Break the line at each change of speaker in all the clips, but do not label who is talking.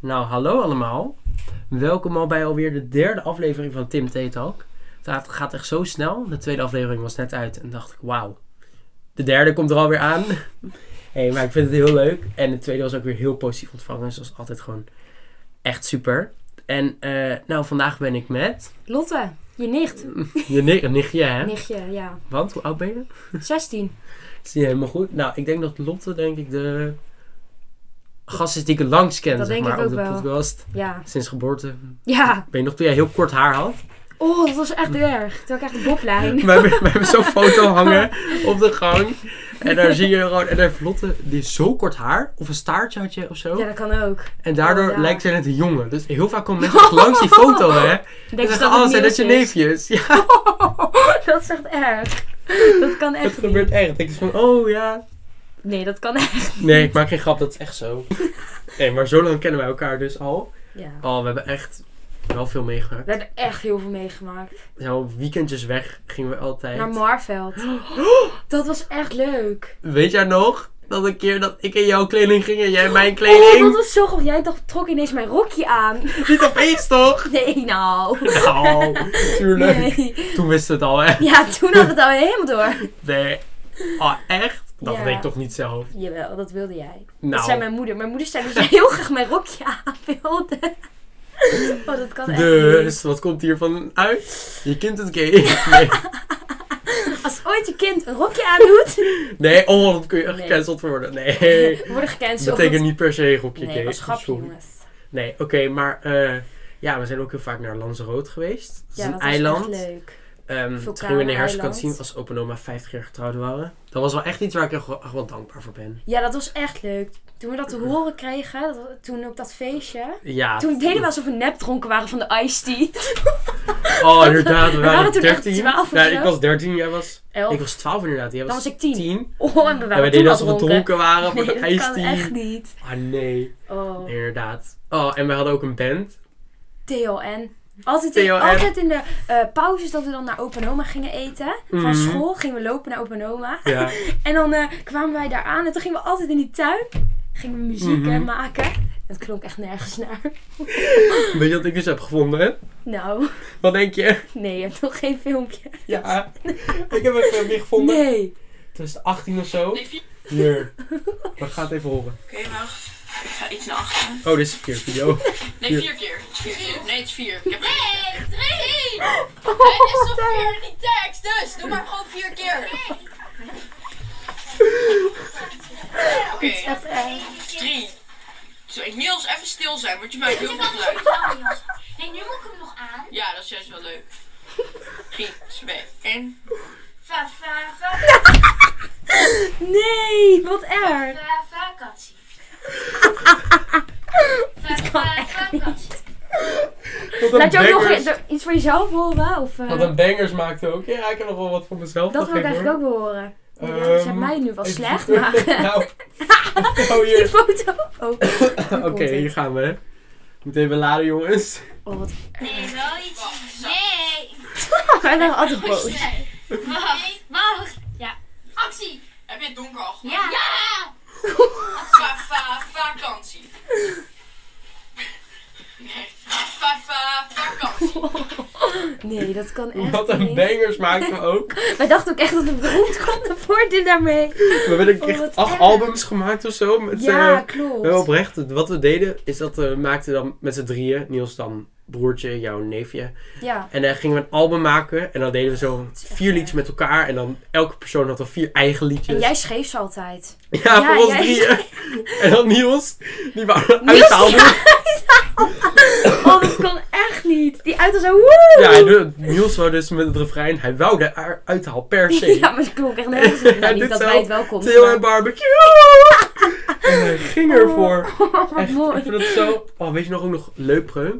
Nou, hallo allemaal. Welkom al bij alweer de derde aflevering van Tim T Talk. Het gaat echt zo snel. De tweede aflevering was net uit en dacht ik, wauw. De derde komt er alweer aan. hey, maar ik vind het heel leuk. En de tweede was ook weer heel positief ontvangen. Zoals altijd gewoon echt super. En eh, nou, vandaag ben ik met
Lotte, je nicht.
je ni- nichtje, hè?
Nichtje, ja.
Want, hoe oud ben je?
16.
Zie je helemaal goed. Nou, ik denk dat Lotte, denk ik, de gast is die ik het langst ken,
Dat
zeg
denk
maar,
ik
op de
ook wel.
podcast.
Ja.
Sinds geboorte.
Ja.
Ben je nog toen jij heel kort haar had?
Oh, dat was echt erg. Toen had ik echt een boblijn.
We hebben, we hebben zo'n foto hangen op de gang. En daar zie je gewoon... En daar heeft Lotte, die heeft zo kort haar. Of een staartje had je of zo.
Ja, dat kan ook.
En daardoor
Oh, ja.
lijkt zij net een jongen. Dus heel vaak komen mensen echt langs die foto, hè. En
Ik Denk
zeggen,
dat
oh,
het
zijn dat
nieuws
je
is.
neefjes? Ja,
dat is echt erg. Dat kan
dat
echt
gebeurt
niet.
echt. Ik is van, oh ja.
Nee, dat kan echt.
Nee, ik maak geen grap. Dat is echt zo. Nee, maar zo lang kennen wij elkaar dus al.
Ja.
Oh, we hebben echt wel veel meegemaakt.
We hebben echt heel veel meegemaakt.
Nou, weekendjes weg gingen we altijd.
Naar Marveld. Dat was echt leuk.
Weet jij nog? Dat een keer dat ik in jouw kleding ging en jij in mijn
Oh, dat
kleding.
was zo grappig. Jij dacht, trok ineens mijn rokje aan.
Niet opeens, toch?
Nee, nou.
Nou, tuurlijk.
Nee.
Toen wist het al, hè?
Ja, toen had het al helemaal door.
Nee. Oh, echt? Dat
Ja.
weet ik toch niet zelf?
Jawel, dat wilde jij. Dat zei
Nou,
mijn moeder. Mijn moeder zei dat ze heel graag mijn rokje aan wilde. Oh, dat kan echt niet.
dus wat komt hiervan uit? Je kind het gay. Nee,
Als ooit je kind een rokje aandoet,
nee oh, dat kun je echt
Nee.
gecanceld worden. Nee.
worden gecanceld.
Dat betekent niet per se gokje
Nee,
gay.
was grapje,
Sorry.
jongens.
Nee, oké, maar eh, ja, we zijn ook heel vaak naar Lanzarote geweest. Dat is
Ja,
een
dat
eiland.
was echt leuk.
Ehm, toen gingen we in de
Vulkaaneiland.
herfstkantine als opa en oma 50 jaar getrouwd waren. Dat was wel echt iets waar ik echt wel, echt wel dankbaar voor ben.
Ja, dat was echt leuk. Toen we dat te horen kregen, dat, was- toen op dat feestje.
Ja.
Toen deden we alsof we nep dronken waren van de iced tea.
Oh, inderdaad. We
We
waren,
waren toen echt
13.
12 of
Ja,
zo.
ik was 13, jij was...
Elf.
Ik was 12 inderdaad. Jij
Dan
was
was ik tien.
10.
Oh, en we
En
waren
wij
toen
deden
al
alsof we dronken waren voor
Nee,
de
dat kan echt
ijsteen.
niet.
Ah nee,
Oh,
inderdaad. Oh, en we hadden ook een band.
TLN. Altijd in,
TLN.
altijd in de eh, pauzes dat we dan naar opa en oma gingen eten.
Mhm.
Van school gingen we lopen naar opa en oma.
Ja.
En dan eh, kwamen wij daar aan en toen gingen we altijd in die tuin. Gingen we muziek eh,
Mhm.
maken. Dat klonk echt nergens naar.
Weet je wat ik dus heb gevonden? hè?
Nou,
Wat denk je?
nee, je hebt nog geen filmpje.
Ja, ik heb het weer gevonden.
Nee.
Tussen 18 of zo. Hier. We gaan het even horen.
Oké, wacht. Ik ga iets naar achteren.
Oh, dit is een verkeerde video.
Nee,
Vier.
vier keer. Het is Vier keer. Nee, het is vier. Ik heb
Nee, drie! Het is toch vier in die tekst, dus doe maar gewoon vier keer.
Oké,
Echt erg.
drie. Twee. Niels, even stil zijn, want je maakt heel veel geluid.
Nee, nu moet ik hem nog aan.
Ja, dat is juist wel leuk. Drie, twee, één.
Va- va- va-
Nee, wat erg.
va- Vakantie. Va- va- Vakantie.
Wat een
Laat je ook nog
bangers.
i- iets voor jezelf horen? Of, eh,
Wat een bangers maakte ook. Ja, ik heb nog wel wat voor mezelf.
dat wil ik
geven,
eigenlijk ook
hoor.
wel horen. Oh Ja,
Ehm,
dat zijn mij nu wel
even
slecht,
zoeken.
maar eh,
nou, nou
die
hier.
foto. Oh,
Oké, hier gaan we. hè. Moet even laden, jongens.
Oh, wat
Nee, wel iets. Nee.
erg. Wij waren altijd boos.
Nee. Wacht. Wacht. Ja. Actie.
Heb je het donker al gehad?
Ja. Ja.
Va- va- vakantie. Nee. Va- va- vakantie.
Nee, dat kan echt
Wat een
niet.
bangers maakten we ook.
Wij dachten ook echt dat we beroemd konden worden daarmee.
We hebben denk ik
Oh,
echt
wat
acht
erg.
albums gemaakt of zo. Met,
Ja,
eh,
klopt.
we hebben oprecht, wat we deden is dat we maakten dan met z'n drieën, Niels dan broertje, jouw neefje.
Ja.
En dan gingen we een album maken en dan deden we zo
echt
vier liedjes met elkaar. En dan elke persoon had dan vier eigen liedjes.
En jij schreef ze altijd.
ja,
ja,
voor ons
jij-
drieën. en dan Niels, die waren
Niels,
uit de album.
Oh, dat kon echt niet. Die uit was zo woe!
Ja, hij doet- Niels wou dus met het refrein, hij wou de a- uithalen per se.
Ja, maar ze klonk echt nergens.
Hij
op. Nou, niet
doet
dat
zo,
wij het wel konden.
Til
maar-
en barbecue. en hij ging ervoor.
Oh, wat
Echt, ik
mooi.
vind het zo... Oh, weet je nog ook nog Leupre?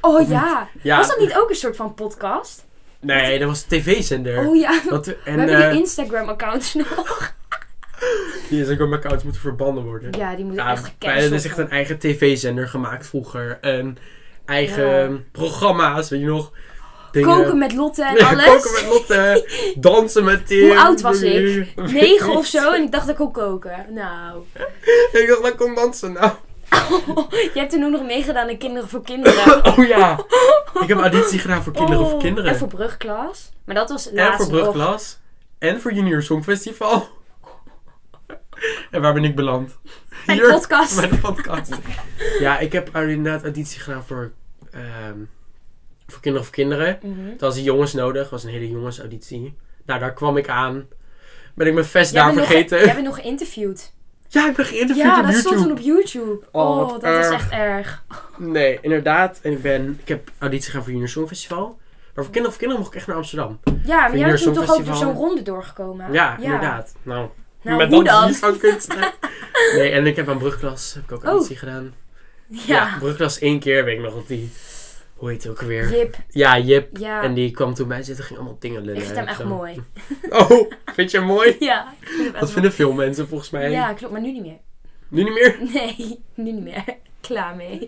Oh ja.
Ja.
Was dat niet ook een soort van podcast?
Nee, dat was een tv-zender.
Oh ja.
Dat we-
We
en
hebben
eh
die Instagram-accounts nog.
die is ook op mijn accounts moeten verbannen worden.
Ja, die moeten
Ja,
echt
wij
gecanceld
hebben dus echt een
worden.
eigen tv-zender gemaakt vroeger. En eigen
Ja.
ehm, programma's, weet je nog. Dingen-
Koken met Lotte en
Ja,
alles.
Koken met Lotte. dansen met Tim.
Hoe oud was ik?
Weet
Negen
niet.
of zo. En ik dacht dat ik kon koken. Nou.
Ik dacht, dat ik kon dansen. Nou,
Je hebt toen ook nog meegedaan aan Kinderen voor Kinderen.
Oh ja! Ik heb auditie gedaan voor Kinderen voor
Oh,
Kinderen.
En voor brugklas. Maar dat was
En
laatst
voor
nog.
Brugklas. En voor Junior Songfestival. En waar ben ik beland?
Bij de podcast.
Bij de podcast. ja, ik heb inderdaad auditie gedaan voor, ehm, voor Kinderen voor Kinderen.
Mhm.
Het was die jongens nodig. was een hele jongensauditie. Nou, daar kwam ik aan. Ben ik mijn vest
Jij
daar
bent, nog,
vergeten.
jij bent nog geïnterviewd.
Ja, ik ben geïnterviewd
ja,
op
dat
YouTube.
stond toen op YouTube.
Oh,
Oh,
wat
dat
erg.
is echt erg.
Nee, inderdaad. En ik, ben, ik heb auditie gedaan voor Junior Songfestival. Maar voor Kinderen voor Kinderen mocht ik echt naar Amsterdam.
Ja, maar jij
Junior
bent toen toch ook door
Songfestival.
zo'n ronde doorgekomen?
Ja, inderdaad. Nou,
Nou,
met
hoe
dat
dan?
niet zo'n kunst. nee, en ik heb aan brugklas heb ik ook
Oh.
auditie gedaan.
Ja.
brugklas één keer, weet ik nog dat die... Hoe heet het ook weer?
Jip,
Ja, Jip.
ja.
En die kwam toen bij zitten, ging allemaal dingen lullen.
ik vind hem
en
echt
zo.
mooi.
Oh, vind je hem mooi?
Ja, ik vind hem echt
Dat vinden veel mensen volgens mij.
mooi. Ja, klopt, maar nu niet meer.
Nu niet meer?
Nee, nu niet meer. Klaar mee.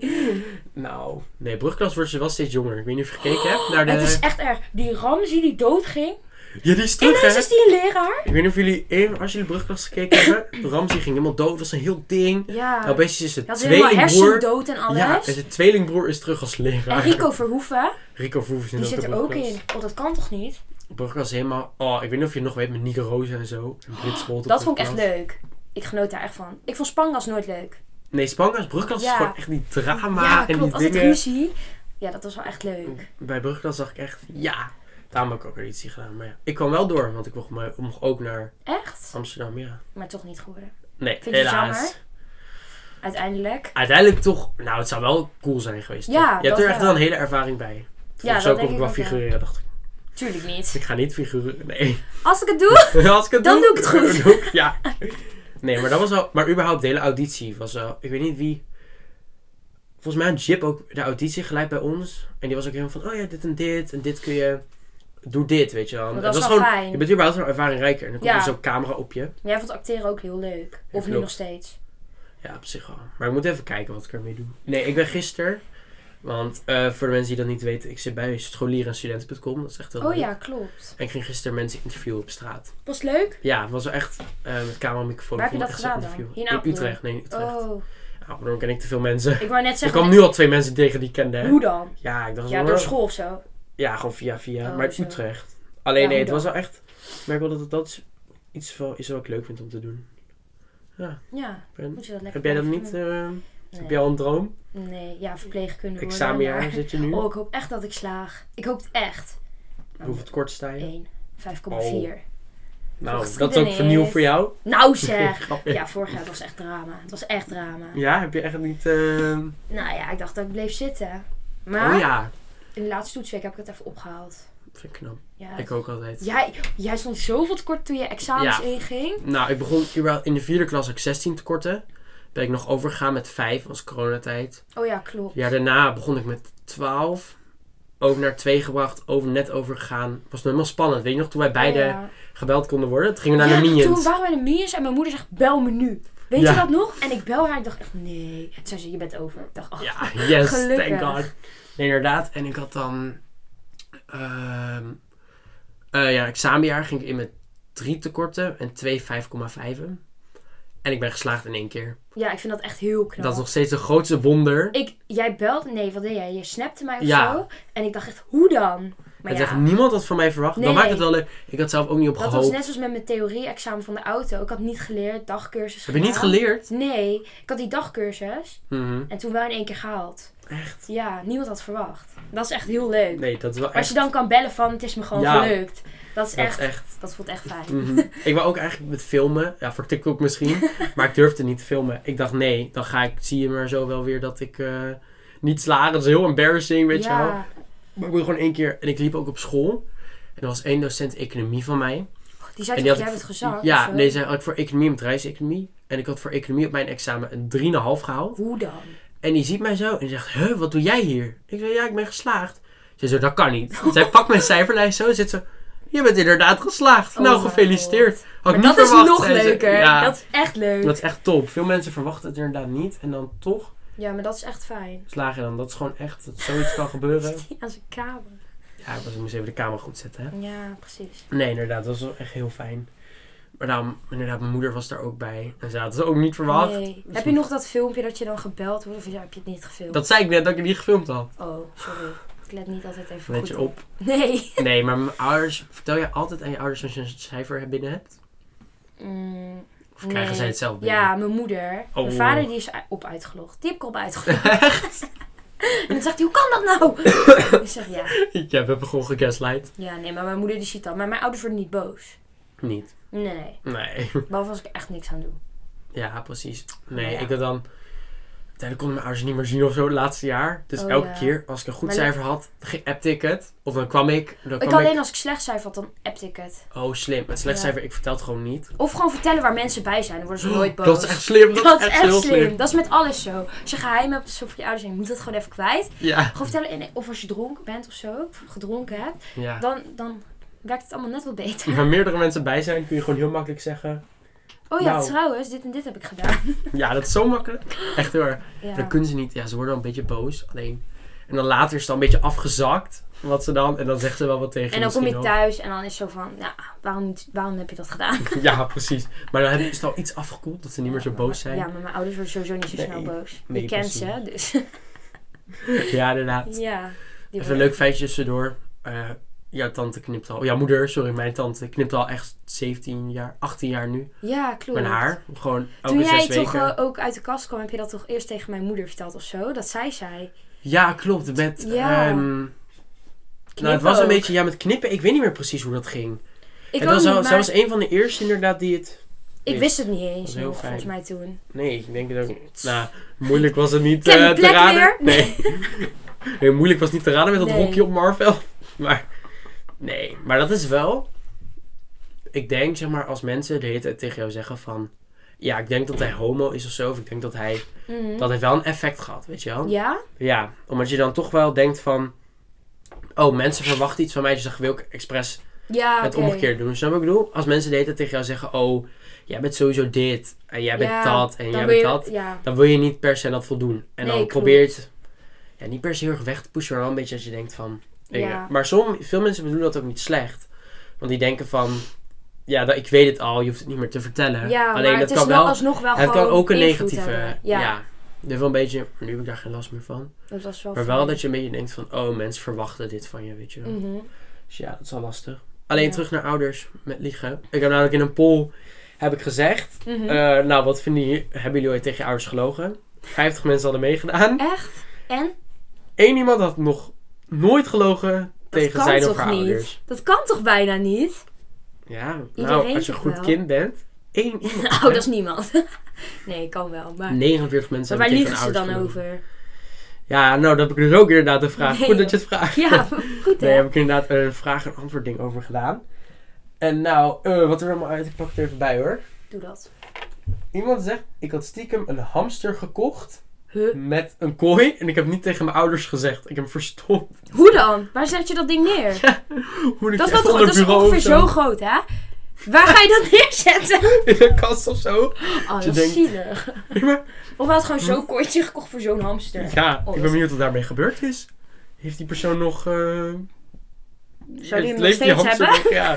Nou, nee, brugklas wordt ze wel steeds jonger. Ik weet niet of je gekeken hebt naar de...
Het is echt erg. Die Ramzi die doodging.
Ja, die is terug,
Ineens
hè?
is die een leraar.
Ik weet niet of jullie, even, als jullie brugklas gekeken hebben, Ramsey ging helemaal dood, was een heel ding. Nou,
Ja.
opeens is het
Dat is Ah, helemaal
tweelingbroer...
hersendood en alles.
Ja, en zijn tweelingbroer is terug als
en
leraar.
Rico Verhoeven,
Rico Verhoeven
die
zit
zit
op
er ook
brugklas.
in. Oh, dat kan toch niet?
Brugklas helemaal... Oh, ik weet niet of je het nog weet met Nico Roos en zo. En Brit Scholt op
Oh, Dat vond ik echt
brugklas.
leuk. Ik genoot daar echt van. Ik vond Spangas nooit leuk.
Nee, Spangas, brugklas
Ja.
is gewoon echt die drama
ja,
en
klopt.
die
Altijd
dingen.
ruzie. Ja, dat was wel echt leuk.
Bij brugklas zag ik echt, ja, daarom heb ik ook auditie gedaan. Maar ja, ik kwam wel door, want ik mocht, me, mocht ook naar
Echt?
Amsterdam, ja.
Maar toch niet geworden.
Nee,
Vind je het
helaas.
jammer? Uiteindelijk.
Uiteindelijk toch, nou, het zou wel cool zijn geweest.
Ja,
toch? je hebt
dat
er echt
wel.
wel een hele ervaring bij.
Ja,
Ja,
dat
zo
denk
kon ik
ik
wel
ook wel.
figureren, dacht ik.
Tuurlijk niet.
Ik ga niet figureren, nee.
Als ik het doe.
Als ik het
Dan
doe,
doe ik het goed.
doe ik- ja. Nee, maar dat was wel... Maar überhaupt, de hele auditie was wel... Ik weet niet wie... Volgens mij had Jip ook de auditie gelijk bij ons. En die was ook helemaal van... Oh ja, dit en dit. En dit kun je... Doe dit, weet je wel.
Dat
En
was wel
gewoon,
fijn.
Je bent überhaupt een ervaring rijker. En dan komt
Ja.
er zo'n camera op je.
Jij vond acteren ook heel leuk. Of nu
klopt.
nog steeds.
Ja, op zich wel. Maar ik moet even kijken wat ik ermee doe. Nee, ik ben gisteren... Want eh, voor de mensen die dat niet weten... Ik zit bij scholierenstudenten.com. Dat is echt heel
Oh
leuk.
ja, klopt.
En ik ging gisteren mensen interviewen op straat.
Was het leuk?
Ja, het was wel echt eh met camera en microfoon.
Waar heb
Ik
je
vond
dat
het echt
gedaan
een interview.
dan? Hier in
In
Apeldoorn?
Utrecht, nee, in Utrecht.
Oh.
Ja, waarom ken ik te veel mensen?
Ik wou net
Ik
zeggen.
kwam nu al twee mensen tegen die ik kende. hè?
Hoe dan?
Ja, ik dacht
Ja,
wel-
door school of zo.
Ja, gewoon via via.
Oh,
maar
zo.
Utrecht. Alleen
Ja,
nee,
hoe
het was wel echt... Ik merk wel dat het dat is- iets wel, is wat ik leuk vind om te doen.
Ja,
Ben-
moet je dat lekker
heb jij dat
blijven
niet?
doen.
eh, Heb
Nee.
jij al een droom?
nee, ja, verpleegkunde worden,
Examenjaar
maar-
zit je nu?
Oh, ik hoop echt dat ik slaag. Ik hoop het echt. Nou,
Hoeveel tekort sta je?
1, 5,4.
nou,
volgens
dat is ook
Dennis.
vernieuw voor jou.
Nou zeg!
Grapje. Ja.
Ja, vorig jaar was echt drama. Het was echt drama.
heb je echt niet... eh,
Nou ja, ik dacht dat ik bleef zitten. Maar
Oh ja,
in de laatste toetsweek heb ik het even opgehaald.
vind ik knap.
Ja.
Ik ook altijd.
Jij, jij stond zoveel tekort toen je examens
Ja.
inging.
Nou, ik begon überhaupt- in de vierde klas had ik 16 tekorten. Ben ik nog overgegaan met 5, was coronatijd.
Oh ja, klopt.
Ja, daarna begon ik met 12. Ook naar 2 gebracht, over, net overgegaan. Was nog helemaal spannend. Weet je nog, toen wij beide
Oh Ja.
gebeld konden worden? Toen gingen we naar
Ja,
de
Toen
Minions.
waren we in de Minions en mijn moeder zegt, bel me nu. Weet
Ja.
je dat nog? En ik bel haar ik dacht echt, nee. Toen zei ze, je bent over. Ik dacht, ach,
Ja, yes,
Oh, Gelukkig.
thank god. Nee, inderdaad. En ik had dan... ehm eh, ja, examenjaar ging ik in met 3 tekorten en 2 5,5'en. En ik ben geslaagd in één keer.
ja, ik vind dat echt heel knap.
Dat is nog steeds het grootste wonder.
ik, jij belde, nee, wat deed jij? Je snapte mij of
Ja.
zo. En ik dacht echt, hoe dan? Maar
Het
ja,
echt niemand had van mij verwacht.
Nee.
Dan maakt het wel leuk. Ik had zelf ook niet op
dat
gehoopt.
was net zoals met mijn theorie-examen van de auto. Ik had niet geleerd, dagcursus
Heb je niet
gedaan.
geleerd? Mhm.
Nee, ik had die dagcursus en toen wel in één keer gehaald.
Echt?
Ja, niemand had verwacht. Dat is echt heel leuk.
Nee, dat is wel echt.
Als je dan kan bellen van, het is me gewoon
Ja.
gelukt. Dat is
dat
echt,
is echt.
dat voelt echt fijn.
Mhm. ik wou ook eigenlijk met filmen. Ja, voor TikTok misschien. maar ik durfde niet te filmen. Ik dacht, nee, dan ga ik, zie je maar zo wel weer dat ik eh, niet slaag. Dat is heel embarrassing, weet je wel.
ja.
Maar ik wil gewoon één keer. En ik liep ook op school. En er was één docent economie van mij.
Die zei
en
toch,
die had
jij bent gezakt? of eh?
ja,
zo?
nee, zij had voor economie en bedrijfseconomie. En ik had voor economie op mijn examen een 3,5 gehaald.
Hoe dan?
En die ziet mij zo en zegt, huh, wat doe jij hier? Ik zeg, ja, ik ben geslaagd. Ze zegt, dat kan niet. Zij pakt mijn cijferlijst zo en zit zo, je bent inderdaad geslaagd.
Oh
nou,
mijn
gefeliciteerd. Had ik
Maar
niet
dat is
verwacht,
nog
zei ze.
leuker.
Ja,
Dat
dat...
is echt leuk.
is echt top. Veel mensen verwachten het inderdaad niet. En dan toch
Ja, maar dat is echt fijn.
slaag je dan. Dat is gewoon echt, dat zoiets kan gebeuren.
Zit hij aan zijn kamer?
Ja, ik was- ik moest even de kamer goed zetten, hè.
Ja, precies.
Nee, inderdaad, dat was wel echt heel fijn. Maar daarom, inderdaad, mijn moeder was daar ook bij. En ze had het ook niet verwacht.
Nee. Heb je nog dat filmpje dat je dan gebeld wordt of ja, heb je het niet gefilmd?
Dat zei ik net dat ik het niet gefilmd had.
Oh, sorry. Ik let niet altijd even
Weet
goed
je op.
Nee.
Nee, maar mijn ouders, vertel je altijd aan je ouders als je een cijfer binnen hebt?
Mm,
Of krijgen
nee.
zij het zelf binnen?
Ja, mijn moeder.
Oh.
Mijn vader die is u- op uitgelogd. Die heb ik op uitgelogd. en dan zegt hij, hoe kan dat nou? ik zeg, ja.
Jij hebt me gewoon gegaslight.
Ja, nee, maar mijn moeder die ziet dat. Maar mijn ouders worden niet boos.
Niet.
Nee.
Nee.
Behalve als ik echt niks aan doe.
Ja, precies. Nee,
Oh, Ja.
ik had dan... Uiteindelijk konden mijn ouders niet meer zien of zo het laatste jaar. Dus
Oh,
elke
ja.
keer als ik een goed
Maar dat-
cijfer had, ge- appte ik het. Of dan kwam ik... Dan
Ik
kwam
alleen
ik...
als ik slecht cijfer had, dan appte ik het.
Oh, slim. Het slecht
Ja.
cijfer, ik vertel het gewoon niet.
Of gewoon vertellen waar mensen bij zijn. Dan worden ze nooit boos.
Oh, Dat is echt slim. Dat,
Dat
is echt heel slim.
Dat is met alles zo. Als je geheimen hebt, zo voor je ouders, en je moet dat gewoon even kwijt.
Ja.
Gewoon vertellen, en- of als je dronken bent of zo, of gedronken hebt,
ja.
dan, dan werkt het allemaal net wel beter.
Waar meerdere mensen bij zijn, kun je gewoon heel makkelijk zeggen...
Oh ja,
Nou.
trouwens, dit en dit heb ik gedaan.
Ja, dat is zo makkelijk. Echt heel erg.
Ja.
Dan kunnen ze niet. Ja, ze worden dan een beetje boos. Alleen... En dan later is het dan een beetje afgezakt. Wat ze dan... En dan zegt ze wel wat tegen
En dan kom je
misschien ook.
thuis en dan is zo van, ja, waarom, niet- waarom heb je dat gedaan?
Ja, precies. Maar dan hebben- is het al iets afgekoeld dat ze niet meer zo boos zijn.
Ja, maar mijn ouders worden sowieso niet zo
Nee.
snel boos.
Nee,
je kent
precies.
ze, dus
Ja, inderdaad.
ja. Die
Even een leuk feitje tussendoor. Eh jouw tante knipt al... Jouw moeder, sorry, mijn tante knipt al echt 17 jaar, 18 jaar nu.
Ja, klopt.
Mijn haar. Gewoon elke
Toen jij
zes
toch
weken.
eh, ook uit de kast kwam, heb je dat toch eerst tegen mijn moeder verteld of zo? Dat zij zei.
Ja, klopt. Met...
Ja.
ehm, nou, het
Knippen
was een
ook.
beetje... Ja, met knippen. Ik weet niet meer precies hoe dat ging.
Ik
en
ook
dat
niet,
was,
maar
zij was een van de eerste inderdaad die het...
ik wist het niet eens
was heel
nog, volgens
fijn.
mij toen.
Nee, ik denk het ook niet. Nou, moeilijk was het niet
Ken
eh,
die
te
plek
raden.
weer?
Nee. Heel moeilijk was het niet te raden met dat
Nee.
hokje op Marvel. Maar nee, maar dat is wel. Ik denk zeg maar als mensen de hele tijd tegen jou zeggen van. Ja, ik denk dat hij homo is of zo. Of ik denk dat hij.
Mhm.
Dat heeft wel een effect gehad, weet je wel?
Ja?
Ja, omdat je dan toch wel denkt van. Oh, mensen verwachten iets van mij, dus dan wil ik expres
Ja,
het
oké.
omgekeerd doen. Snap je wat ik bedoel? Als mensen de hele tijd tegen jou zeggen: Oh, jij bent sowieso dit. En jij bent
Ja,
dat. En
dan
jij
wil
bent
je-
dat
Ja.
dan wil je niet per se aan dat voldoen. En
Nee,
dan
klopt.
probeer je het ja, niet per se heel erg weg te pushen, maar wel een beetje als je denkt van... weet je.
Ja.
Maar som, veel mensen bedoelen dat ook niet slecht. Want die denken van, ja, dat, ik weet het al, je hoeft het niet meer te vertellen.
Ja,
Alleen
maar
dat
het is
kan
wel
wel,
alsnog wel
het kan
gewoon
ook een
invloed
negatieve...
hebben.
Ja.
Ja,
Dus wel een beetje, nu heb ik daar geen last meer van.
dat was wel
Maar wel
fijn.
dat je een beetje denkt van, oh, mensen verwachten dit van je, weet je wel.
Mhm.
Dus ja, dat is al lastig. Alleen
Ja.
terug naar ouders met liegen. Ik heb namelijk in een poll, heb ik gezegd,
Mhm.
eh, nou, wat vinden jullie, hebben jullie ooit tegen je ouders gelogen? 50 mensen hadden meegedaan.
Echt? En?
Eén iemand had nog nooit gelogen
Dat
tegen
kan
zijn of
toch
haar
niet?
ouders.
Dat kan toch bijna niet?
Ja, nou,
Iedereen
als je een
toch
goed
wel?
kind bent, één iemand.
Oh,
hè?
dat is niemand. nee, kan wel. Maar,
49 mensen
maar waar
hebben tegen
liegen
hun
ze dan
ouders gelogen.
over?
Ja, nou, dat heb ik dus ook inderdaad een vraag.
Nee,
goed dat
joh.
je het vraagt.
Ja, goed hè?
Daar heb ik inderdaad een vraag- en antwoord ding over gedaan. En nou, eh, wat er allemaal uit, ik pak het er even bij hoor.
Doe dat.
Iemand zegt, ik had stiekem een hamster gekocht
Huh?
met een kooi. En ik heb niet tegen mijn ouders gezegd. Ik heb hem verstopt.
Hoe dan? Waar zet je dat ding neer?
Moet ik
Dat,
echt
was toch,
onder
dat is
bureau of
ongeveer zo groot, hè? Waar ga je dat neerzetten?
In een kast of zo.
Oh, dat
je
is
denkt-
zielig.
Maar
Of hij had gewoon zo'n kooitje gekocht voor zo'n hamster.
Ja,
Oh,
ik ben
dat-
benieuwd wat daarmee gebeurd is. Heeft die persoon nog... eh,
Zou die
leeft
hem nog steeds
hamster
hebben?
nog? Ja.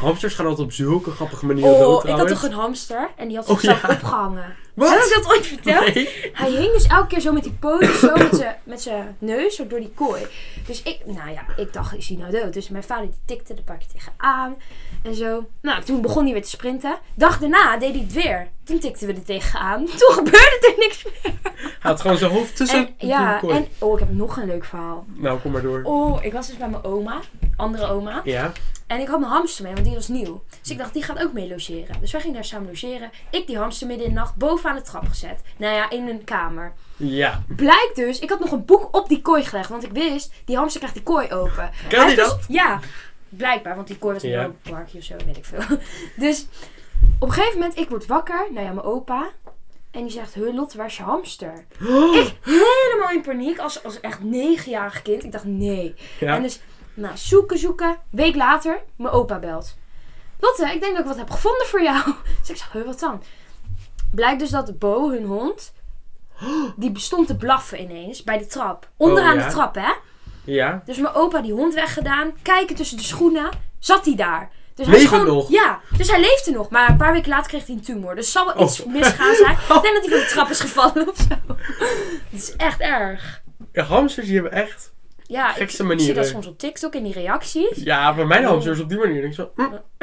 Hamsters gaan altijd op zulke grappige manieren dood
Oh, ik had
trouwens.
toch een hamster en die had
Oh,
zichzelf
ja.
opgehangen.
Wat?
Heb ik dat ooit verteld?
Nee.
Hij hing dus elke keer zo met die poten, zo met zijn- met zijn neus, zo door die kooi. Dus ik, nou ja, ik dacht, is hij nou dood? Dus mijn vader die tikte de pakje tegenaan en zo. Nou, toen begon hij weer te sprinten. Dag daarna deed hij het weer. Toen tikten we er tegenaan. Toen gebeurde er niks meer.
Hij had gewoon zijn hoofd tussen
En, ja,
de kooi.
en, oh, ik heb nog een leuk verhaal.
Nou, kom maar door.
Oh, ik was dus bij mijn oma, andere oma.
Ja?
En ik had mijn hamster mee, want die was nieuw. Dus ik dacht, die gaat ook mee logeren. Dus wij gingen daar samen logeren. Ik die hamster midden in de nacht bovenaan de trap gezet. Nou ja, in een kamer.
Ja.
Blijkt dus, ik had nog een boek op die kooi gelegd. Want ik wist, die hamster krijgt die kooi open.
Kan
Hij
die
heeft
dat?
dus- ja, blijkbaar. Want die kooi was in
Ja.
een parkje of zo, weet ik veel. Dus op een gegeven moment, ik word wakker. Nou ja, mijn opa. En die zegt, huh Lot, waar is je hamster? Ik helemaal in paniek als, als echt negenjarig kind. Ik dacht, nee.
Ja.
En dus, nou, zoeken, zoeken. Week later, mijn opa belt. Lotte, ik denk dat ik wat heb gevonden voor jou. Dus ik zeg, huh, wat dan? Blijkt dus dat Bo, hun hond, die bestond te blaffen ineens bij de trap. Onderaan
Oh, ja?
de trap, hè?
Ja.
Dus mijn opa die hond weggedaan, kijken tussen de schoenen, zat hij daar. Dus hij is
Leeft het
gewoon-
nog?
Ja, dus hij leefde nog. Maar een paar weken later kreeg hij een tumor. Dus zal wel iets
Oh.
misgaan zijn. Ik denk dat hij van de trap is gevallen of zo. Het is echt erg.
Ja, hamsters die hebben echt...
Ja, ik,
Gekste
ik zie
manieren.
dat soms op TikTok in die reacties.
Ja, van
Oh.
mijn hamsters op die manier. Ik zo, hm,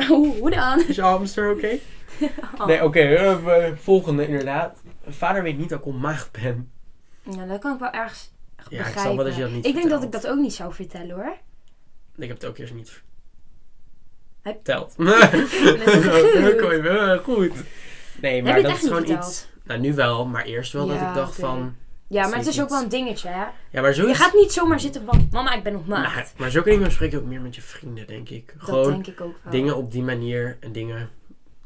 Oeh, hoe dan?
is je hamster oké?
Oh.
Nee, oké. eh, eh, volgende inderdaad. Vader weet niet dat ik onmaagd ben.
Ja, dat kan ik wel ergens
Ja,
begrijpen.
ik snap wel dat je dat niet
Ik denk dat ik
vertelt.
dat ook niet zou vertellen hoor.
Ik heb het ook eerst niet
Heb-
verteld.
goed.
Kon je wel, eh, goed. Nee, maar
Heb je het
dat
echt
is
niet
gewoon
verteld?
iets... Nou, nu wel, maar eerst wel dat
Ja,
ik dacht
oké.
van...
Ja, maar
Zie
het
ik
is ook
niet.
wel een dingetje hè.
Ja, maar zo
Je gaat niet zomaar zitten van, mama ik ben nog
Maar,
maagd.
maar zo kun je hem spreken ook meer met je vrienden, denk ik.
dat
gewoon
denk ik ook wel.
dingen op die manier en dingen...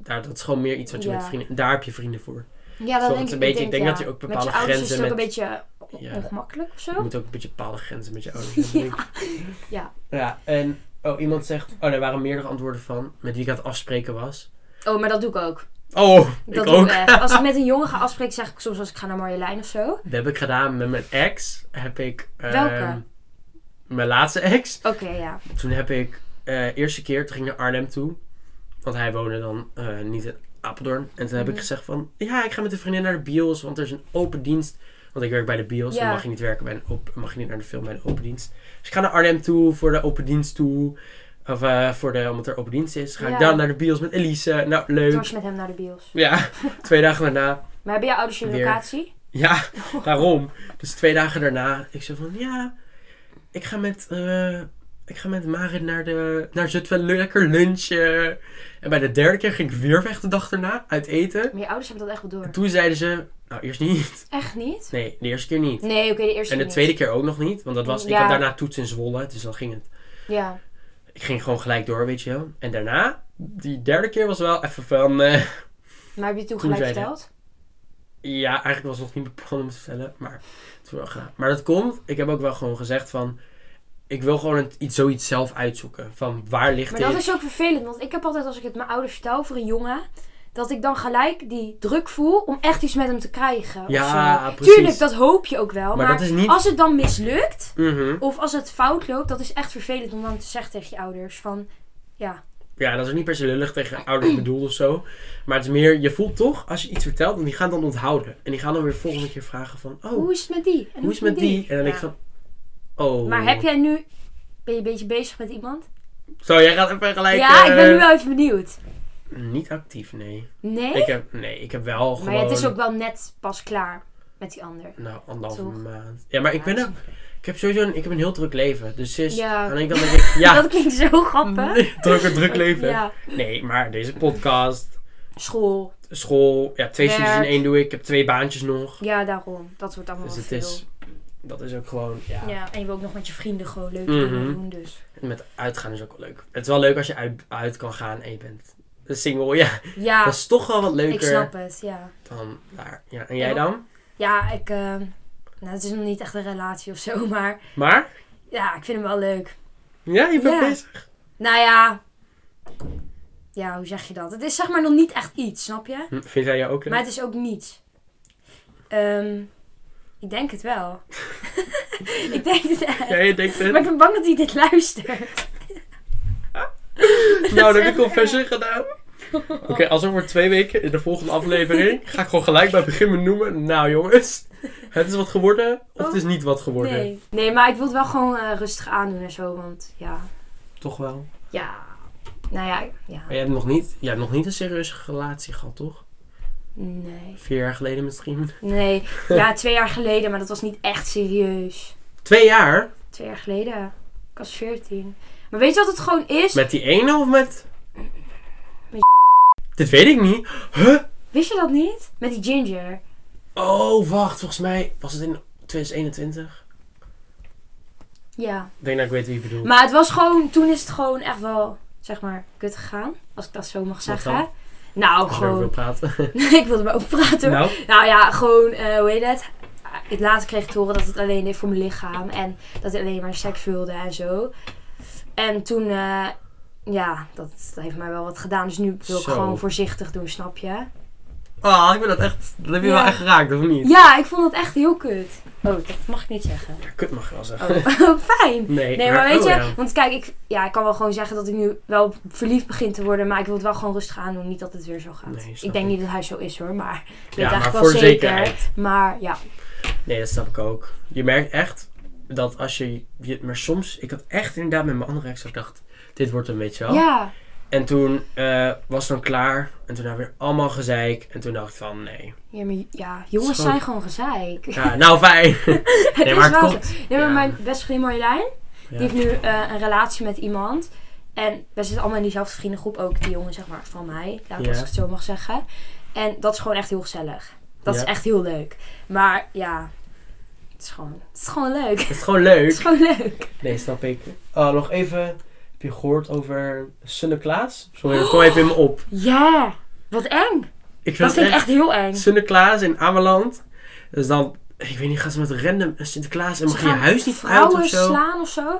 Daar, dat is gewoon meer iets wat je
Ja.
met vrienden... en Daar heb je vrienden voor.
Ja, dat
Soms
denk ik.
een beetje- ik denk
ja.
dat je ook bepaalde
met je ouders
grenzen
is het ook
met-
een beetje
Ja.
ongemakkelijk of zo.
Je moet ook een beetje bepaalde grenzen met je ouders hebben. denk ik.
Ja.
Ja, en... Oh, iemand zegt... Oh, er waren meerdere antwoorden van met wie ik aan het afspreken was.
Oh, maar dat doe ik ook.
Oh,
Dat
ik
doe
ook.
ik echt. Als ik met een jongen ga afspreken, zeg ik soms als ik ga naar Marjolein of zo. Oké,
Dat heb ik gedaan met mijn ex. Heb ik... ehm,
Welke?
Mijn laatste ex.
ja.
Toen heb ik... eh eerste keer, toen ging ik naar Arnhem toe. Want hij woonde dan eh, niet in Apeldoorn. En toen heb
Mhm.
ik gezegd van... Ja, ik ga met een vriendin naar de bios. Want er is een open dienst. Want ik werk bij de bios.
Ja.
Dan mag je niet werken bij een open... Mag je niet naar de film bij de open dienst. Dus ik ga naar Arnhem toe. Voor de open dienst toe. Of eh, voor de... Omdat er open dienst is. Ga
Ja.
ik dan naar de bios met Elise. Nou,
Toen
leuk.
was je met hem naar de bios.
Ja. Twee dagen daarna...
Maar hebben jouw ouders je
Weer.
locatie?
Ja, daarom. Dus twee dagen daarna, ik zei van ja, ik ga met, eh, ik ga met Marit naar, de, naar Zutphen lekker lunchen. En bij de derde keer ging ik weer weg de dag daarna uit eten.
Maar je ouders hebben dat echt wel door.
En toen zeiden ze, nou eerst niet.
Echt niet?
Nee, de eerste keer niet.
Nee, oké, de eerste
En de
keer
tweede keer ook nog niet, want dat was, ik
Ja.
had daarna toets in Zwolle, dus dan ging het.
niet. Ja.
Ik ging gewoon gelijk door, weet je wel. En daarna, die derde keer was wel even van, eh,
Maar heb je het toen
Toen
gelijk
zei hij-
verteld?
Ja, eigenlijk was het nog niet mijn plan om het te vertellen, maar het is wel gedaan. Maar dat komt, ik heb ook wel gewoon gezegd van, ik wil gewoon het, iets, zoiets zelf uitzoeken. Van waar ligt
Maar
dit?
dat is ook vervelend, want ik heb altijd als ik het mijn ouders vertel voor een jongen, dat ik dan gelijk die druk voel om echt iets met hem te krijgen. of
Ja,
zo.
precies.
Tuurlijk, dat hoop je ook wel. Maar,
Maar dat is niet-
als het dan mislukt,
Mhm.
of als het fout loopt, dat is echt vervelend om dan te zeggen tegen je ouders van, ja,
Ja, dat is niet per se lullig tegen ouders bedoeld of zo. Maar het is meer, je voelt toch, als je iets vertelt, en die gaan dan onthouden. En die gaan dan weer volgende keer vragen van, oh,
hoe is het met die? En
hoe is het met die? En dan denk ik
Ja.
van, oh.
Maar heb jij nu, ben je een beetje bezig met iemand?
Zo, jij gaat even gelijk...
ja, ik ben nu
eh,
wel even benieuwd.
Niet actief, nee.
Nee?
Ik heb, nee, ik heb wel gewoon...
Maar ja, het is ook wel net pas klaar met die ander.
Nou, anderhalve
Toch?
maand. Ja, maar ik
Ja, dus-
ben
dat
ook... Ik heb sowieso een, ik heb een heel druk leven. Dus sinds...
Ja.
Aan de ene kant denk ik... Ja.
Dat klinkt zo grappig.
druk, een druk leven.
Ja.
Nee, maar deze podcast,
School.
school... Ja, twee studies in
Werk.
één doe ik. Ik heb twee baantjes nog.
Ja, daarom. Dat wordt allemaal
Dus
wel
het
Oh, veel.
is... Dat is ook gewoon... Ja.
Ja, en je wil ook nog met je vrienden gewoon leuke
Mhm.
dingen doen, dus.
Met uitgaan is ook wel leuk. Het is wel leuk als je uit, uit kan gaan en je bent single. Ja,
Ja,
dat is toch wel wat leuker
ik snap het, ja.
dan daar. Ja, en jij
Ja.
dan?
Ja, ik... ehm, nou, het is nog niet echt een relatie of zo, maar...
Maar?
Ja, ik vind hem wel leuk.
Ja, je bent
Ja.
bezig.
Nou ja... Ja, hoe zeg je dat? Het is zeg maar nog niet echt iets, snap je?
Hm, Vindt hij jou ook leuk?
Maar het is ook niets. Ehm, ik denk het wel. ik denk het echt.
Ja, je denkt het.
Maar ik ben bang dat hij dit luistert.
Nou, dan heb
is
ik
echt
confession gedaan. Oké, als over twee weken in de volgende aflevering ga ik gewoon gelijk bij het begin benoemen. Nou jongens, het is wat geworden of het is niet wat geworden.
Oh, Nee. Nee, maar ik wil het wel gewoon eh, rustig aandoen en zo, want ja...
Toch wel.
Ja... Nou ja, ja.
Maar jij hebt nog niet, jij hebt nog niet een serieuze relatie gehad, toch?
Nee.
Vier jaar geleden misschien.
Nee, ja, twee jaar geleden, maar dat was niet echt serieus.
Twee jaar?
Twee jaar geleden. Ik was veertien. Maar weet je wat het gewoon is?
Met die ene of met...
Met
Dit weet ik niet. Huh?
Wist je dat niet? Met die ginger.
Oh, wacht. Volgens mij was het in 2021.
Ja.
Ik denk dat ik weet wie je bedoelt.
Maar het was gewoon, toen is het gewoon echt wel, zeg maar, kut gegaan. Als ik dat zo mag zeggen.
dan?
Nou,
Als je erover wil
gewoon.
praten.
ik wilde maar over praten. hoor.
nou,
Nou ja, gewoon, eh, hoe heet het? Ik later kreeg ik te horen dat het alleen deed voor mijn lichaam. En dat ik alleen maar seks wilde en zo. En toen, eh, ja, dat, dat heeft mij wel wat gedaan. Dus nu wil ik
Zo.
gewoon voorzichtig doen, snap je?
Oh, ik ben dat echt... Dat heb je
Ja.
wel echt geraakt, of niet?
Ja, ik vond het echt heel kut. Oh, dat mag ik niet zeggen.
Ja, kut mag je wel zeggen.
Oh, fijn.
Nee,
Nee, maar weet
oh,
je,
ja.
want kijk, ik, ja, ik kan wel gewoon zeggen dat ik nu wel verliefd begin te worden, maar ik wil het wel gewoon rustig aan doen, niet dat het weer zo gaat.
Nee, snap
ik denk
ik.
niet dat hij zo is hoor, maar ik weet
Ja, maar
eigenlijk
voor
wel zeker.
zekerheid.
Maar ja,
Nee, dat snap ik ook. Je merkt echt dat als je, je... Maar soms... Ik had echt inderdaad met mijn andere ex dat ik dacht... Dit wordt een beetje wel.
ja,
En toen eh, was het dan klaar. En toen had ik weer allemaal gezeik. En toen dacht ik van, nee.
ja, maar, ja jongens
Schoon.
zijn gewoon gezeik.
Ja, nou, fijn.
het
nee,
is
maar het
wel
komt-
zo. Nee, maar
ja.
mijn beste vriendin Marjolein,
Ja.
die heeft nu eh, een relatie met iemand. En we zitten allemaal in diezelfde vriendengroep, ook die jongen zeg maar van mij, laat
Ja.
als ik het zo mag zeggen. En dat is gewoon echt heel gezellig. Dat
Ja.
is echt heel leuk. Maar ja, het is gewoon, het is gewoon leuk.
Het is gewoon leuk.
Het is gewoon leuk.
Nee, snap ik. Oh, nog even. Heb je gehoord over Sunneklaas? Sorry, dat kwam even in me op.
Ja, wat eng.
Ik
Dat vind ik echt heel eng.
Sunneklaas in Ameland. Dus dan, ik weet niet, gaan ze met random Sinterklaas en
Ze
mag je je
gaan
huis niet uit
vrouwen
of zo?
slaan of zo.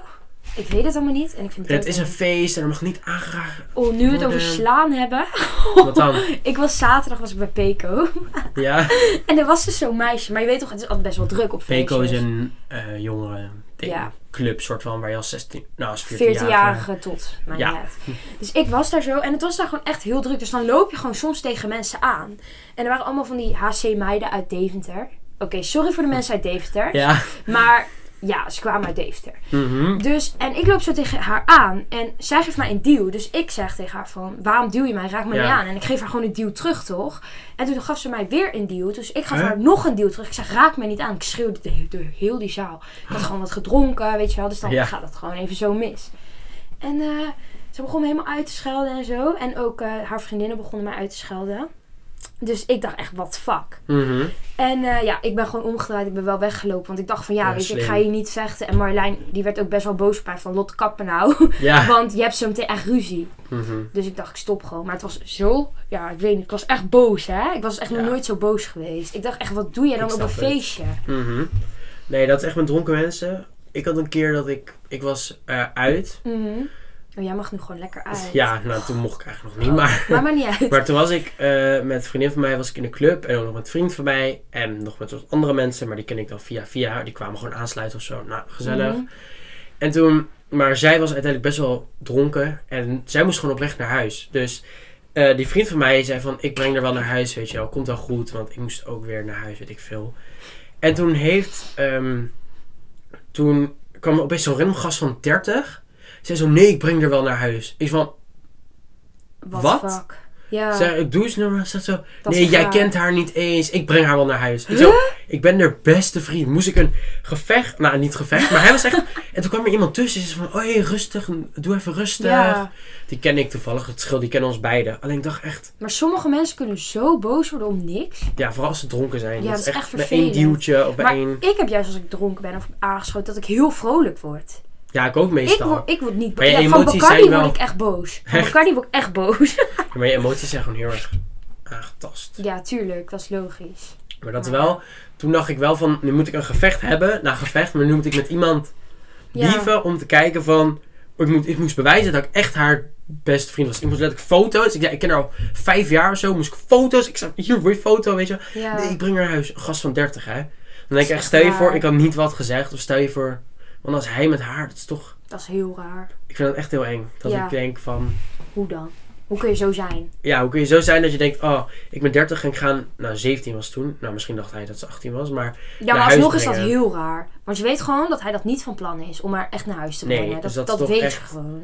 Ik weet het allemaal niet. En ik vind
Ja,
het
het is
ook
een
eng.
feest en er mag niet aangeraakt.
Oh, nu we het over
worden.
slaan hebben.
Wat dan?
Ik was zaterdag was ik bij Peco.
Ja.
En er was dus zo'n meisje. Maar je weet toch, het is altijd best wel druk op feestjes.
Peco is een eh jongere ding,
Ja.
club, soort van, waar je als 16, nou als 14 jaar.
14-jarige tot. Maar
Ja.
ja. Dus ik was daar zo en het was daar gewoon echt heel druk. Dus dan loop je gewoon soms tegen mensen aan. En er waren allemaal van die HC-meiden uit Deventer. Oké, sorry voor de mensen uit Deventer.
Ja.
Maar ja, ze kwamen uit Deventer.
Mhm.
Dus, en ik loop zo tegen haar aan. En zij geeft mij een duw. Dus ik zeg tegen haar van, waarom duw je mij? Raak me
Ja.
niet aan. En ik geef haar gewoon een duw terug, toch? En toen gaf ze mij weer een duw. Dus ik gaf
Hè?
haar nog een duw terug. Ik zeg, raak me niet aan. Ik schreeuwde de- door heel die zaal. Ik had gewoon wat gedronken, weet je wel. Dus dan
Ja.
gaat het gewoon even zo mis. En eh, ze begon me helemaal uit te schelden en zo. En ook eh, haar vriendinnen begonnen mij uit te schelden. Dus ik dacht echt, wat fuck.
Mhm.
En eh, ja, ik ben gewoon omgedraaid. Ik ben wel weggelopen. Want ik dacht van ja,
Ja,
weet je, ik
slim.
ga hier niet vechten. En Marjolein, die werd ook best wel boos op mij van Lot kappen nou.
Ja.
want je hebt zo meteen echt ruzie.
Mhm.
Dus ik dacht, ik stop gewoon. Maar het was zo, ja, ik weet niet. Ik was echt boos, hè. Ik was echt
Ja.
nog nooit zo boos geweest. Ik dacht echt, wat doe jij dan
Ik
op een
snap het.
feestje?
Mhm. Nee, dat is echt met dronken mensen. Ik had een keer dat ik, ik was eh, uit.
Mhm. Oh, jij mag nu gewoon lekker uit.
Ja, nou toen mocht ik eigenlijk nog niet,
Oh,
maar...
Maar maar niet uit.
Maar toen was ik eh, met een vriendin van mij was ik in een club en ook nog met een vriend van mij en nog met wat andere mensen, maar die ken ik dan via via. Die kwamen gewoon aansluiten of zo. Nou, gezellig.
Mhm.
En toen, maar zij was uiteindelijk best wel dronken en zij moest gewoon op weg naar huis. Dus eh, die vriend van mij zei van, ik breng haar wel naar huis, weet je wel, komt wel goed, want ik moest ook weer naar huis, weet ik veel. En toen heeft, ehm, toen kwam er opeens zo'n random gast van 30. Zei zo, nee, ik breng haar wel naar huis. Ik van, Wat?
fuck? Ja.
Zeg, ik doe eens nummer. Zegt zo.
Dat is
nee, jij
raar.
kent haar niet eens. Ik breng haar wel naar huis. Ik, zo, ik ben haar beste vriend. Moest ik een gevecht. Nou, niet gevecht, maar hij was echt. En toen kwam er iemand tussen. Ze zei van: Oei, rustig. Doe even rustig.
Ja.
Die ken ik toevallig. Het schil, die kennen ons beiden. Alleen ik dacht echt.
Maar sommige mensen kunnen zo boos worden om niks.
Ja, vooral als ze dronken zijn.
Ja, dat is echt
bij één
vervelend.
duwtje of bij
maar
één.
ik heb juist als ik dronken ben of aangeschoten, dat ik heel vrolijk word.
Ja, ik ook
Ik
meestal.
word, ik word niet
Maar je
boos. Ja, van
emoties
Bacardi
zijn wel-
word ik echt boos. Van
Echt?
Bacardi word ik echt boos.
Ja, Maar je emoties zijn gewoon heel erg aangetast.
ja, tuurlijk. Dat is logisch.
Maar dat wel. Toen dacht ik wel van: Nu moet ik een gevecht hebben. Nou, gevecht, maar nu moet ik met iemand
Ja.
dieven om te kijken van... Ik, moet, ik moest bewijzen dat ik echt haar beste vriend was. Ik moest letterlijk foto's. Ik, zei, ik ken haar al vijf jaar of zo. Moest ik foto's. Ik zei, hier, wil je foto, weet je. wel.
Ja.
Nee, ik breng haar naar huis. Een gast van 30, hè. Dan denk ik echt,
echt
stel je
waar.
voor, ik had niet wat gezegd. Of stel je voor, want als hij met haar, dat is toch...
Dat is heel raar.
Ik vind dat echt heel eng. Dat
Ja.
ik denk van...
Hoe dan? Hoe kun je zo zijn?
Ja, hoe kun je zo zijn dat je denkt, oh, ik ben 30 en ik ga... Nou, 17 was toen. Nou, misschien dacht hij dat ze 18 was, maar...
Ja, maar
huis
alsnog is dat
brengen.
heel raar. Want je weet gewoon dat hij dat niet van plan is om haar echt naar huis te
Nee,
brengen. dat
dus dat
dat,
is toch
weet
echt-
je gewoon.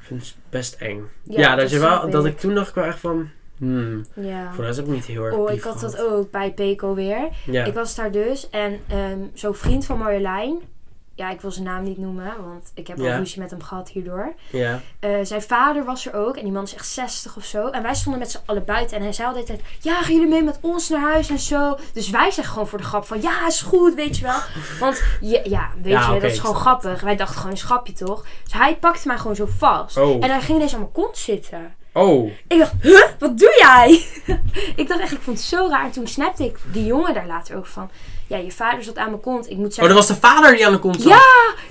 Ik vind het best eng. Ja,
Ja,
dat,
dat
je wel...
snap
Dat
ik.
ik toen dacht ik wel echt van... Hmm,
Ja.
voor dat heb ik niet heel erg
Oh, ik
lief
had
gehad.
dat ook bij Peco weer.
Ja.
Ik was daar dus en ehm, zo'n vriend van Marjolein. Ja, ik wil zijn naam niet noemen, want ik heb
Ja.
al ruzie met hem gehad hierdoor.
Ja.
Eh, zijn vader was er ook en die man is echt 60 of zo. En wij stonden met z'n allen buiten en hij zei altijd: Ja, gaan jullie mee met ons naar huis en zo. Dus wij zeggen gewoon voor de grap: van Ja, is goed, weet je wel. Want ja, ja weet
Ja,
je,
oké,
dat is gewoon
ik
grappig. Wij dachten gewoon: een grapje toch? Dus hij pakte mij gewoon zo vast.
Oh.
En hij ging ineens aan mijn kont zitten.
Oh.
Ik dacht: Huh, wat doe jij? ik dacht echt, ik vond het zo raar. En toen snapte ik die jongen daar later ook van: Ja, je vader zat aan mijn kont. Ik moet
Oh,
zeggen:
dat was de vader die aan de kont zat.
Ja,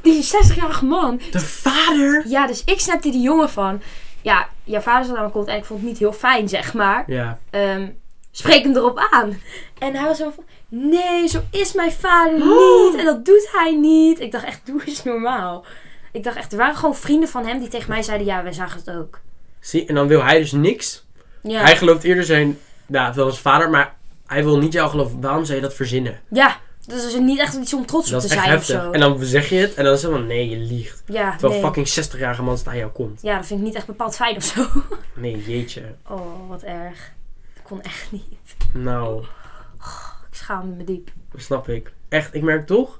die 60-jarige man.
De vader?
Ja, dus ik snapte die jongen van. Ja, jouw vader zat aan mijn kont en ik vond het niet heel fijn, zeg maar.
Ja.
Ehm, spreek hem erop aan. En hij was zo van, nee, zo is mijn vader
Oh.
niet. En dat doet hij niet. Ik dacht echt, doe eens normaal. Ik dacht echt, er waren gewoon vrienden van hem die tegen mij zeiden, ja, wij zagen het ook.
Zie, en dan wil hij dus niks.
Ja,
Hij gelooft eerder zijn, nou, wel als vader, maar hij wil niet jou geloven. Waarom zou je dat verzinnen?
ja dus dat is niet echt iets om trots op
Dat
te
is echt
zijn of
heftig.
zo.
En dan zeg je het en dan is het van nee, je liegt.
Ja,
Terwijl
nee.
fucking 60-jarige man naar jou komt.
ja, dat vind ik niet echt bepaald fijn of zo.
Nee, jeetje.
Oh, wat erg. Dat kon echt niet.
Nou,
Ik schaamde me diep.
snap ik. Echt, ik merk toch,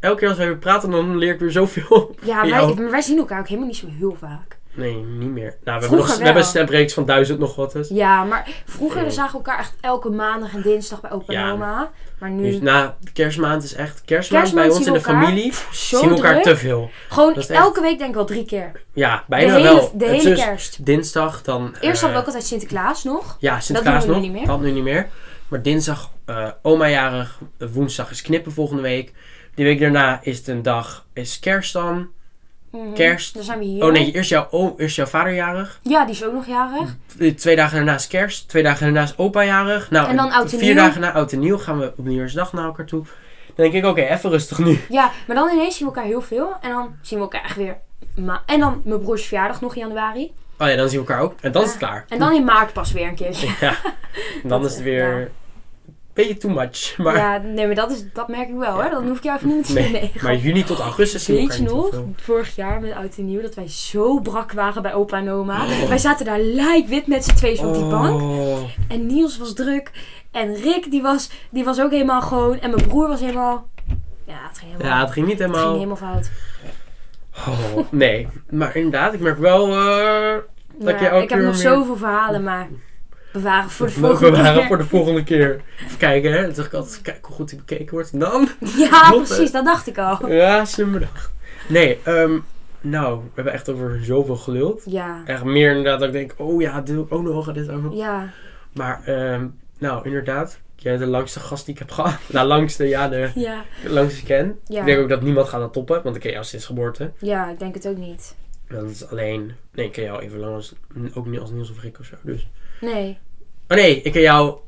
elke keer als wij weer praten, dan leer ik weer zoveel.
Ja,
van
wij,
jou.
maar wij zien elkaar ook helemaal niet zo heel vaak.
Nee, niet meer. Nou, we hebben,
Vroeger
nog, we
wel.
hebben een stemreeks van duizend nog wat. dus. eens.
Ja, maar vroeger
Ja.
zagen we elkaar echt elke maandag en dinsdag bij opa
Ja.
en oma. Maar nu,
Nu, na kerstmaand is echt kerstmaand,
Mm.
bij
Kerstmaand
ons in
zien
de
we elkaar.
familie.
zo
zien we elkaar
druk.
te veel.
gewoon
dat is echt-
elke week denk ik wel drie keer.
Ja,
De
bijna
hele,
wel.
de
Het
hele
is
kerst.
Dinsdag dan.
Eerst
eh,
hadden we ook altijd Sinterklaas nog.
Ja, Sinterklaas
doen we
nog.
nu niet meer.
Dat nu niet meer. Maar dinsdag, eh oma jarig. Woensdag is knippen volgende week. Die week daarna is het een dag, is kerst dan.
Mhm.
Kerst.
Dan zijn we hier.
Oh nee, eerst jouw, o- eerst jouw vader jarig.
Ja, die is ook nog jarig.
Eh, Twee dagen daarna is kerst. Twee dagen daarna is opa jarig. Nou,
En dan oud en
vier
nieuw.
dagen na oud en nieuw gaan we op nieuwjaarsdag naar elkaar toe. Dan denk ik, oké, even rustig nu.
Ja, maar dan ineens zien we elkaar heel veel. En dan zien we elkaar echt weer. Ma en dan mijn broers verjaardag nog in januari.
Oh ja, dan zien we elkaar ook. En dan is het klaar.
En dan in maart pas weer een keertje.
Ja, dan is het weer een beetje too much. Maar,
Ja, nee, maar dat, is, dat merk ik wel hoor. Dan hoef ik jou even niet meer te
nee,
zien. Nee,
maar juni tot augustus zien we
Weet
elkaar
je
niet heel
nog,
veel.
vorig jaar met Oud en Nieuw, dat wij zo brak waren bij opa en oma. Wij zaten daar lijkwit met z'n tweeën op die bank.
Oh,
En Niels was druk. En Rick, die was, die was ook helemaal gewoon. En mijn broer was helemaal... Ja, het ging helemaal,
Ja, het ging niet
het ging
helemaal.
helemaal fout.
Oh, nee, maar inderdaad, ik merk wel. eh Dat
Maar
je elke
ik heb
keer meer-
nog zoveel verhalen, maar bewaren voor de
we
volgende
waren
keer.
voor de volgende keer. Even kijken, hè. Dan zeg ik altijd, kijk hoe goed die bekeken wordt. En dan.
Ja,
Klopt, hè?
precies, dat dacht ik al.
Ja, zimmerdag. Nee, ehm, nou, we hebben echt over zoveel geluld.
Ja,
Echt meer inderdaad dat ik denk, oh ja, dit ook nog, dit ook nog.
ja.
Maar, ehm, nou, inderdaad. Jij bent de langste gast die ik heb gehad. Nou, langste, ja, de
Ja,
langste ik ken.
Ja.
Ik denk ook dat niemand gaat dat toppen, want ik ken jou sinds geboorte.
ja, ik denk het ook niet.
Dat is alleen... Nee, ik ken jou even lang als... Ook niet als Niels of Rick of zo, dus...
Nee.
Oh nee, ik ken jou...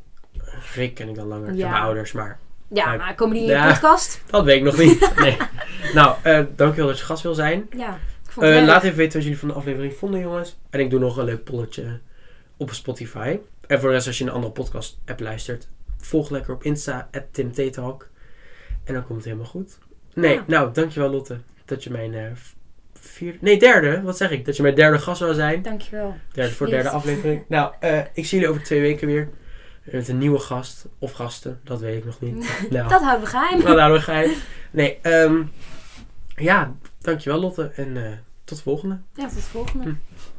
Rick ken ik dan langer. Ik ken
Ja.
mijn ouders, maar
Ja,
Kijk.
maar komen die in je
Ja.
podcast?
dat weet ik nog niet. Nee. Nou, eh, dankjewel dat je gast wil zijn.
Ja, ik vond het
Eh,
leuk.
laat even weten wat jullie van de aflevering vonden, jongens. En ik doe nog een leuk polletje op Spotify. En voor de rest, als je een andere podcast-app luistert, volg lekker op Insta, TimTeetalk. En dan komt het helemaal goed. Nee,
Ja.
nou, dankjewel Lotte dat je mijn eh, v- vierde... Nee, derde, wat zeg ik? Dat je mijn derde gast zou zijn.
Dankjewel.
Derde, voor de derde
Alsjeblieft.
aflevering. Nou, eh, ik zie jullie over twee weken weer. Met een nieuwe gast. Of gasten, dat weet ik nog niet. Nou,
Dat houden we geheim.
nou, nou, geheim. Nee, ehm ja, dankjewel Lotte. En eh, tot de volgende.
Ja, tot de volgende.
Hm.